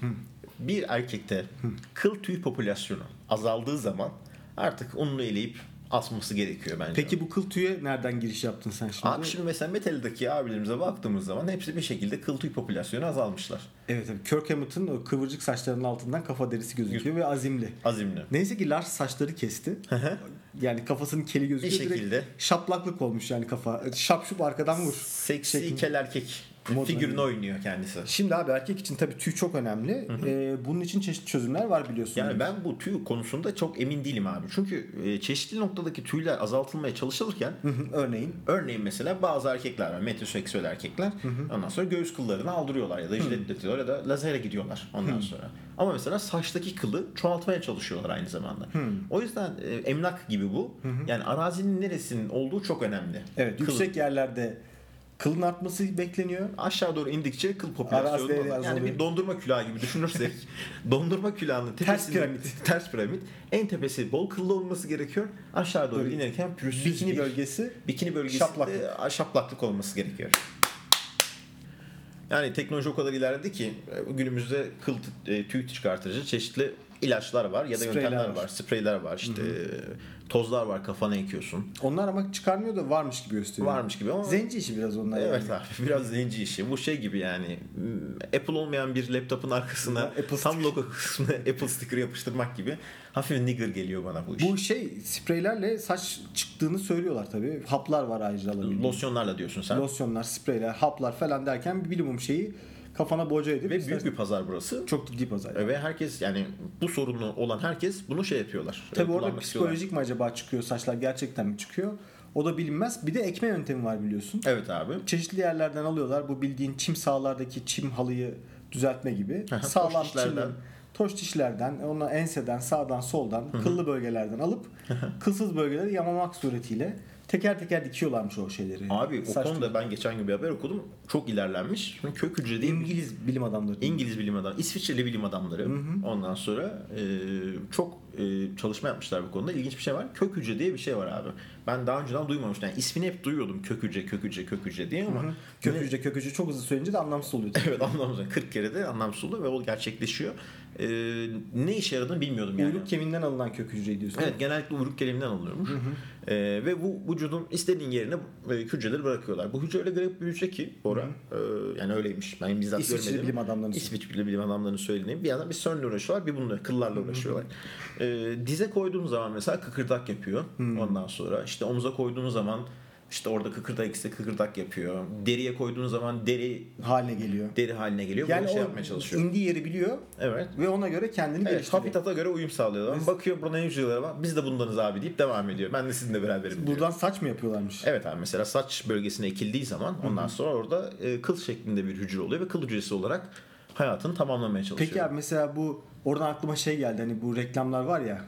Speaker 1: Bir erkekte kıl tüy popülasyonu azaldığı zaman artık onunu eleyip asması gerekiyor bence.
Speaker 2: Peki bu kıl tüye nereden giriş yaptın sen şimdi?
Speaker 1: Abi şimdi mesela Metal'daki abilerimize baktığımız zaman hepsi bir şekilde kıl tüy popülasyonu azalmışlar.
Speaker 2: Evet tabii. Kirk Hammett'ın o kıvırcık saçlarının altından kafa derisi gözüküyor ve azimli.
Speaker 1: Azimli.
Speaker 2: Neyse ki Lars saçları kesti. yani kafasının keli gözüküyor.
Speaker 1: Bir
Speaker 2: Direkt
Speaker 1: şekilde.
Speaker 2: Şaplaklık olmuş yani kafa. Şapşup arkadan vur.
Speaker 1: Seksi
Speaker 2: Şeklinde.
Speaker 1: kel erkek
Speaker 2: Modern.
Speaker 1: figürünü oynuyor kendisi.
Speaker 2: Şimdi abi erkek için tabii tüy çok önemli. Ee, bunun için çeşitli çözümler var biliyorsun.
Speaker 1: Yani ben bu tüy konusunda çok emin değilim abi. Çünkü e, çeşitli noktadaki tüyler azaltılmaya çalışılırken
Speaker 2: Örneğin.
Speaker 1: Örneğin mesela bazı erkekler var. Metroseksüel erkekler. Ondan sonra göğüs kıllarını aldırıyorlar ya da jilletletiyorlar ya da lazere gidiyorlar ondan sonra. Ama mesela saçtaki kılı çoğaltmaya çalışıyorlar aynı zamanda. O yüzden e, emlak gibi bu. Yani arazinin neresinin olduğu çok önemli.
Speaker 2: Evet
Speaker 1: Kılın.
Speaker 2: yüksek yerlerde kılın artması bekleniyor.
Speaker 1: aşağı doğru indikçe kıl
Speaker 2: Arazi
Speaker 1: popülasyonu
Speaker 2: değeri
Speaker 1: azalıyor. yani
Speaker 2: azalıyor.
Speaker 1: bir dondurma külahı gibi düşünürsek dondurma külahının tepesinde
Speaker 2: piramit.
Speaker 1: ters piramit en tepesi bol kıllı olması gerekiyor aşağı doğru
Speaker 2: Böyle
Speaker 1: inerken pürüzsüz
Speaker 2: Bikini
Speaker 1: bir-
Speaker 2: bölgesi
Speaker 1: Bikini bölgesinde
Speaker 2: Şaplaklık.
Speaker 1: şaplaklık. olması gerekiyor. Yani teknoloji o kadar ilerledi ki e, günümüzde kıl t- e, tüy çıkartıcı çeşitli ilaçlar var ya da
Speaker 2: Spreyler
Speaker 1: yöntemler
Speaker 2: var.
Speaker 1: var. Spreyler var işte e, tozlar var kafana ekiyorsun.
Speaker 2: Onlar ama çıkarmıyor da varmış gibi gösteriyor.
Speaker 1: Varmış gibi ama
Speaker 2: Zenci işi biraz onlar. yani.
Speaker 1: Evet abi biraz zenci işi. Bu şey gibi yani m, Apple olmayan bir laptopun arkasına
Speaker 2: Apple
Speaker 1: tam logo kısmına Apple sticker yapıştırmak gibi hafif nigger geliyor bana bu iş.
Speaker 2: Bu şey spreylerle saç çıktığını söylüyorlar tabii. Haplar var ayrıca alabildiğin.
Speaker 1: losyonlarla diyorsun sen.
Speaker 2: Losyonlar, spreyler, haplar falan derken bir bilimum şeyi kafana boca edip
Speaker 1: Ve büyük
Speaker 2: istersen-
Speaker 1: bir pazar burası.
Speaker 2: çok ciddi pazar.
Speaker 1: Ve herkes yani bu sorunu olan herkes bunu şey yapıyorlar.
Speaker 2: Tabii
Speaker 1: e,
Speaker 2: orada
Speaker 1: kullanmak istiyorlar.
Speaker 2: psikolojik mi acaba çıkıyor saçlar gerçekten mi çıkıyor? O da bilinmez. Bir de ekme yöntemi var biliyorsun.
Speaker 1: Evet abi.
Speaker 2: Çeşitli yerlerden alıyorlar. Bu bildiğin çim sahalardaki çim halıyı düzeltme gibi.
Speaker 1: Aha,
Speaker 2: Sağlam
Speaker 1: toş dişlerden.
Speaker 2: çimden, toş dişlerden, ona enseden, sağdan, soldan, kıllı bölgelerden alıp kılsız bölgeleri yamamak suretiyle teker teker dikiyorlarmış o şeyleri.
Speaker 1: Abi o
Speaker 2: Saç
Speaker 1: konuda ben geçen gün bir haber okudum. Çok ilerlenmiş. Çünkü kök hücre değil
Speaker 2: İngiliz bilim adamları.
Speaker 1: İngiliz bilim adamı, İsviçreli bilim adamları ondan sonra e, çok e, çalışma yapmışlar bu konuda. İlginç bir şey var. Kök hücre diye bir şey var abi. Ben daha önceden duymamıştım. Yani ismini hep duyuyordum kök hücre, kök hücre, kök hücre diye ama
Speaker 2: kök hücre kök hücre çok hızlı söyleyince de anlamsız oluyor. tabii.
Speaker 1: evet anlamsız. 40 kere de anlamsız oluyor ve o gerçekleşiyor. E, ne işe yaradığını bilmiyordum yani.
Speaker 2: Uyluk kemiğinden alınan kök hücre diyorsun.
Speaker 1: Evet genellikle uyruk geliminden alınıyormuş. E, ve bu vücudun istediğin yerine e, hücreleri bırakıyorlar. Bu hücre öyle garip bir hücre ki Bora. e, yani öyleymiş. Ben bizzat
Speaker 2: İsviçreli
Speaker 1: görmedim.
Speaker 2: bilim adamlarını
Speaker 1: İsviçreli bilim adamlarının söylediği bir yandan bir CERN'le uğraşıyorlar bir bununla kıllarla uğraşıyorlar. Ee, dize koyduğum zaman mesela kıkırdak yapıyor ondan sonra işte omuza koyduğun zaman işte orada kıkırdak ikisi kıkırdak yapıyor. Deriye koyduğun zaman deri
Speaker 2: haline geliyor.
Speaker 1: deri haline geliyor.
Speaker 2: Yani
Speaker 1: Böyle şey
Speaker 2: o
Speaker 1: yapmaya çalışıyor.
Speaker 2: indiği yeri biliyor
Speaker 1: Evet.
Speaker 2: ve ona göre kendini
Speaker 1: Evet,
Speaker 2: geliştiriyor.
Speaker 1: habitata göre uyum sağlıyorlar. Bakıyor buna ne hücrelere var. Biz de bundanız abi deyip devam ediyor. Ben de sizinle beraberim. diyor.
Speaker 2: Buradan saç mı yapıyorlarmış?
Speaker 1: Evet abi mesela saç bölgesine ekildiği zaman ondan sonra orada e, kıl şeklinde bir hücre oluyor ve kıl hücresi olarak hayatını tamamlamaya çalışıyor.
Speaker 2: Peki abi mesela bu oradan aklıma şey geldi hani bu reklamlar var ya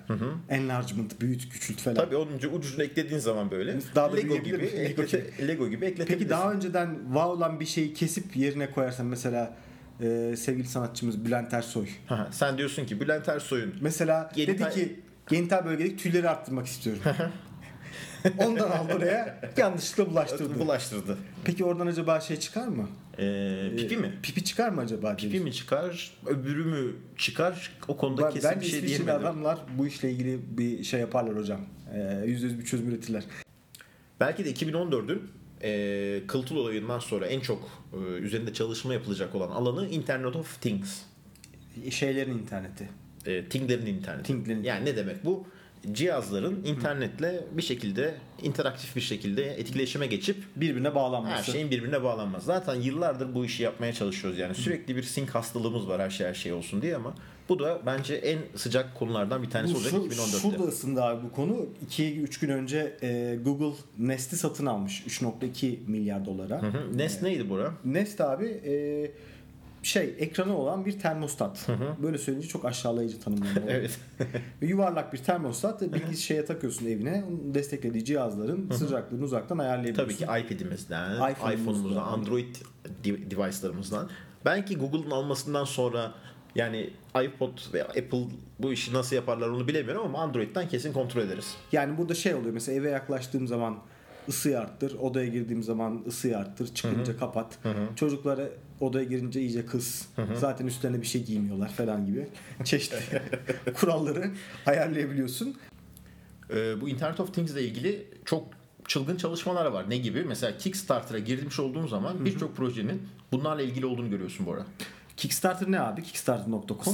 Speaker 2: enlargement, büyüt, küçült falan.
Speaker 1: Tabii onun ucunu eklediğin zaman böyle
Speaker 2: Daha da
Speaker 1: Lego
Speaker 2: büyüyebilir
Speaker 1: gibi
Speaker 2: mi?
Speaker 1: eklete, Lego gibi ekletebilirsin.
Speaker 2: Peki daha önceden var olan bir şeyi kesip yerine koyarsan mesela e, sevgili sanatçımız Bülent Ersoy.
Speaker 1: Ha, sen diyorsun ki Bülent Ersoy'un
Speaker 2: Mesela
Speaker 1: Genital-
Speaker 2: dedi ki genital bölgedeki tüyleri arttırmak istiyorum. Ondan aldı oraya yanlışlıkla bulaştırdı.
Speaker 1: bulaştırdı.
Speaker 2: Peki oradan acaba şey çıkar mı?
Speaker 1: Ee, pipi mi?
Speaker 2: Pipi çıkar mı acaba?
Speaker 1: Pipi mi çıkar? Öbürü mü çıkar? O konuda
Speaker 2: Ben,
Speaker 1: kesin
Speaker 2: bence
Speaker 1: bir şey
Speaker 2: İsviçreli
Speaker 1: diyemedim.
Speaker 2: adamlar bu işle ilgili bir şey yaparlar hocam. Ee, Yüzde yüz bir çözüm üretirler.
Speaker 1: Belki de 2014'ün e, Kıltıl olayından sonra en çok e, üzerinde çalışma yapılacak olan alanı Internet of Things.
Speaker 2: E, Şeylerin interneti.
Speaker 1: E, Thing'lerin interneti.
Speaker 2: Thing'lerin-
Speaker 1: Yani ne demek bu? Cihazların internetle bir şekilde interaktif bir şekilde etkileşime geçip
Speaker 2: Birbirine bağlanması.
Speaker 1: Her şeyin birbirine bağlanmaz. Zaten yıllardır bu işi yapmaya çalışıyoruz yani. Sürekli bir sink hastalığımız var her şey her şey olsun diye ama bu da bence en sıcak konulardan bir tanesi
Speaker 2: bu
Speaker 1: olacak
Speaker 2: şu,
Speaker 1: 2014'te.
Speaker 2: şurada ısındı abi bu konu. 2-3 gün önce e, Google Nest'i satın almış 3.2 milyar dolara.
Speaker 1: Hı hı. Nest neydi Bora?
Speaker 2: Nest abi e, şey ekranı olan bir termostat. Böyle söyleyince çok aşağılayıcı tanımlanıyor.
Speaker 1: Evet.
Speaker 2: Ve yuvarlak bir termostat bilgi şeye takıyorsun evine. Onun desteklediği cihazların sıcaklığını uzaktan
Speaker 1: Tabii ki
Speaker 2: ayarlayabiliyorsun.
Speaker 1: iPad'imizden,
Speaker 2: iPhone'umuzdan,
Speaker 1: iPhone'umuzdan, Android de- device'larımızdan. Belki Google'ın almasından sonra yani iPod ve Apple bu işi nasıl yaparlar onu bilemiyorum ama Android'den kesin kontrol ederiz.
Speaker 2: Yani burada şey oluyor mesela eve yaklaştığım zaman ısıyı arttır, odaya girdiğim zaman ısıyı arttır, çıkınca kapat. Çocuklara odaya girince iyice kız. Zaten üstlerine bir şey giymiyorlar falan gibi. Çeşitli kuralları ayarlayabiliyorsun.
Speaker 1: Ee, bu Internet of Things ile ilgili çok çılgın çalışmalar var. Ne gibi? Mesela Kickstarter'a girmiş olduğun zaman birçok projenin bunlarla ilgili olduğunu görüyorsun bu ara.
Speaker 2: Kickstarter ne abi? Kickstarter.com.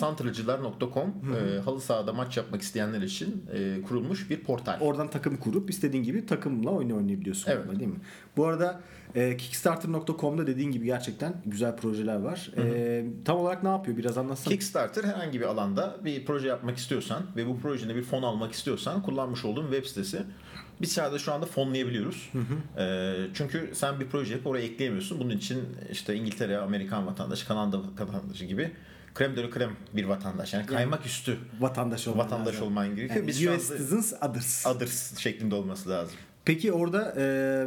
Speaker 1: Santrıcılar.com e, halı sahada maç yapmak isteyenler için e, kurulmuş bir portal.
Speaker 2: Oradan takım kurup istediğin gibi takımla oyun oynayabiliyorsun.
Speaker 1: Evet.
Speaker 2: galiba, değil mi? Bu arada e, Kickstarter.com'da dediğin gibi gerçekten güzel projeler var. E, tam olarak ne yapıyor? Biraz anlatsana.
Speaker 1: Kickstarter herhangi bir alanda bir proje yapmak istiyorsan ve bu projene bir fon almak istiyorsan kullanmış olduğun web sitesi. Biz sadece şu anda fonlayabiliyoruz. Ee, çünkü sen bir proje yapıp oraya ekleyemiyorsun. Bunun için işte İngiltere, Amerikan vatandaşı, Kanada vatandaşı gibi krem de la krem bir vatandaş. Yani kaymak üstü
Speaker 2: vatandaş olman
Speaker 1: vatandaş
Speaker 2: lazım.
Speaker 1: olman gerekiyor.
Speaker 2: Yani
Speaker 1: Biz şu
Speaker 2: US
Speaker 1: anda
Speaker 2: citizens others.
Speaker 1: others şeklinde olması lazım.
Speaker 2: Peki orada e,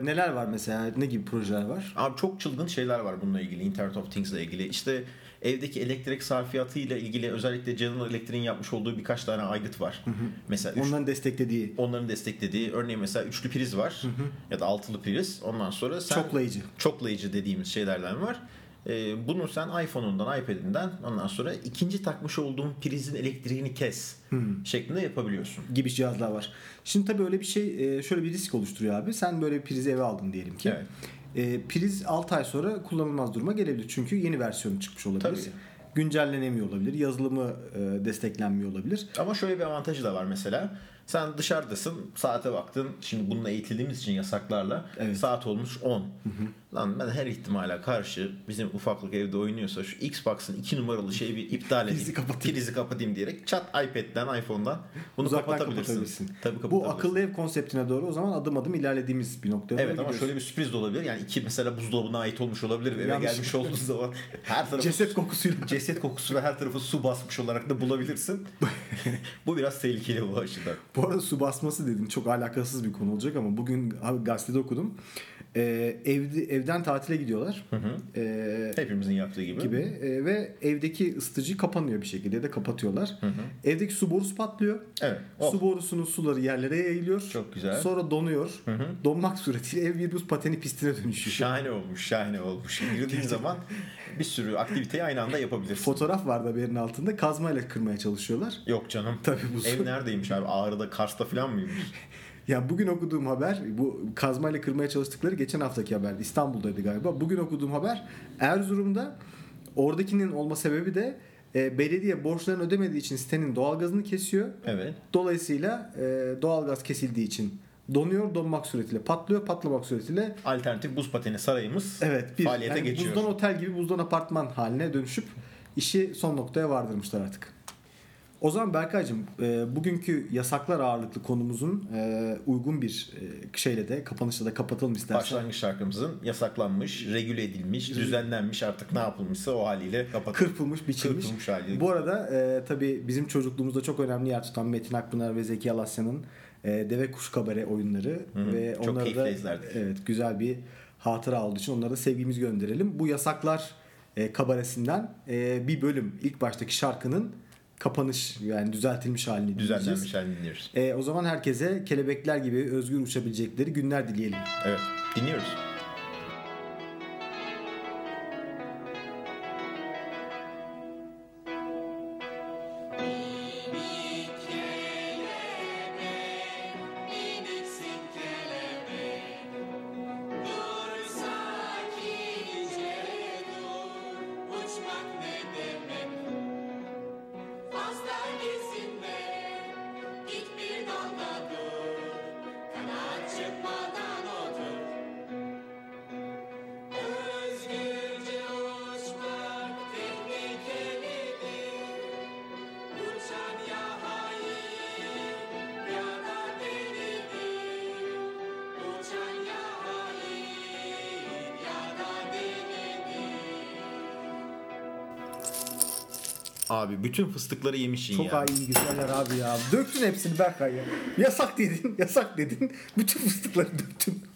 Speaker 2: neler var mesela? Ne gibi projeler var?
Speaker 1: Abi çok çılgın şeyler var bununla ilgili. Internet of Things ile ilgili. İşte evdeki elektrik sarfiyatıyla ilgili özellikle General Electric'in yapmış olduğu birkaç tane aygıt var. Mesela üç-
Speaker 2: Onların desteklediği
Speaker 1: onların desteklediği örneğin mesela üçlü priz var ya da altılı priz. Ondan sonra sen
Speaker 2: çoklayıcı.
Speaker 1: çoklayıcı dediğimiz şeylerden var. Ee, bunu sen iPhone'undan, iPad'inden ondan sonra ikinci takmış olduğun prizin elektriğini kes şeklinde yapabiliyorsun.
Speaker 2: gibi cihazlar var. Şimdi tabii öyle bir şey e, şöyle bir risk oluşturuyor abi. Sen böyle bir prizi eve aldın diyelim ki.
Speaker 1: Evet.
Speaker 2: E, Priz 6 ay sonra kullanılmaz duruma gelebilir. Çünkü yeni versiyonu çıkmış olabilir.
Speaker 1: Tabii.
Speaker 2: Güncellenemiyor olabilir. Yazılımı e, desteklenmiyor olabilir.
Speaker 1: Ama şöyle bir avantajı da var mesela. Sen dışarıdasın, saate baktın. Şimdi bununla eğitildiğimiz için yasaklarla
Speaker 2: Evet.
Speaker 1: saat olmuş 10. Lan ben her ihtimale karşı bizim ufaklık evde oynuyorsa şu Xbox'ın 2 numaralı şeyi bir iptal edeyim.
Speaker 2: Prizi kapatayım.
Speaker 1: prizi kapatayım diyerek çat iPad'den, iPhone'dan bunu
Speaker 2: Uzaktan
Speaker 1: kapatabilirsin.
Speaker 2: kapatabilirsin.
Speaker 1: Tabii
Speaker 2: Bu
Speaker 1: kapatabilirsin.
Speaker 2: akıllı ev konseptine doğru o zaman adım adım ilerlediğimiz bir noktaya doğru
Speaker 1: Evet ama
Speaker 2: gidiyoruz.
Speaker 1: şöyle bir sürpriz de olabilir. Yani iki mesela buzdolabına ait olmuş olabilir. Eve
Speaker 2: Yanlış.
Speaker 1: gelmiş olduğun zaman her tarafı
Speaker 2: ceset kokusuyla
Speaker 1: ceset kokusu ve her tarafı su basmış olarak da bulabilirsin. bu biraz tehlikeli bu açıdan.
Speaker 2: Bu arada su basması dedin çok alakasız bir konu olacak ama bugün abi gazetede okudum. Ee, evde evden tatile gidiyorlar. Ee,
Speaker 1: Hepimizin yaptığı gibi.
Speaker 2: gibi Ee, ve evdeki ısıtıcı kapanıyor bir şekilde ya da kapatıyorlar. Evdeki su borusu patlıyor.
Speaker 1: Evet. Oh.
Speaker 2: Su borusunun suları yerlere yayılıyor.
Speaker 1: Çok güzel.
Speaker 2: Sonra donuyor. Donmak suretiyle ev bir buz pateni pistine dönüşüyor.
Speaker 1: Şahane olmuş, şahane olmuş. Girdiğin zaman bir sürü aktiviteyi aynı anda yapabilirsin.
Speaker 2: Fotoğraf vardı haberin altında. Kazmayla kırmaya çalışıyorlar.
Speaker 1: Yok canım.
Speaker 2: Tabii bu
Speaker 1: Ev neredeymiş abi? Ağrı'da, Kars'ta falan mıymış?
Speaker 2: Ya bugün okuduğum haber bu kazmayla kırmaya çalıştıkları geçen haftaki haber. İstanbul'daydı galiba. Bugün okuduğum haber Erzurum'da oradakinin olma sebebi de e, belediye borçlarını ödemediği için sitenin doğalgazını kesiyor.
Speaker 1: Evet.
Speaker 2: Dolayısıyla e, doğalgaz kesildiği için donuyor, donmak suretiyle patlıyor, patlamak suretiyle
Speaker 1: Alternatif buz pateni sarayımız
Speaker 2: evet bir
Speaker 1: faaliyete
Speaker 2: yani
Speaker 1: geçiyor.
Speaker 2: buzdan otel gibi buzdan apartman haline dönüşüp işi son noktaya vardırmışlar artık. O zaman Berkay'cığım e, bugünkü yasaklar ağırlıklı konumuzun e, uygun bir e, şeyle de kapanışla da kapatalım istersen.
Speaker 1: Başlangıç şarkımızın yasaklanmış, regüle edilmiş, düzenlenmiş artık ne yapılmışsa o haliyle kapatalım.
Speaker 2: Kırpılmış, biçilmiş.
Speaker 1: Kırpılmış haliyle.
Speaker 2: Bu arada e, tabii bizim çocukluğumuzda çok önemli yer tutan Metin Akpınar ve Zeki Alasya'nın e, Deve Kuş Kabare oyunları ve
Speaker 1: Çok
Speaker 2: onları
Speaker 1: keyifle
Speaker 2: da
Speaker 1: izlerdik.
Speaker 2: evet güzel bir hatıra olduğu için onlara da sevgimizi gönderelim. Bu yasaklar e, kabaresinden e, bir bölüm ilk baştaki şarkının kapanış yani düzeltilmiş halini dinleyeceğiz.
Speaker 1: Düzenlenmiş halini dinliyoruz.
Speaker 2: E, o zaman herkese kelebekler gibi özgür uçabilecekleri günler dileyelim.
Speaker 1: Evet, dinliyoruz.
Speaker 3: Miniksin kelebek, dur sakince dur, uçmak ne demek? Fazla gezinme, git bir dalda dur, kanat çıkmadan otur.
Speaker 1: Abi bütün fıstıkları yemişsin
Speaker 2: Çok
Speaker 1: ya.
Speaker 2: ay iyi güzeller abi ya. Döktün hepsini Berkay ya. Yasak dedin, yasak dedin. Bütün fıstıkları döktün.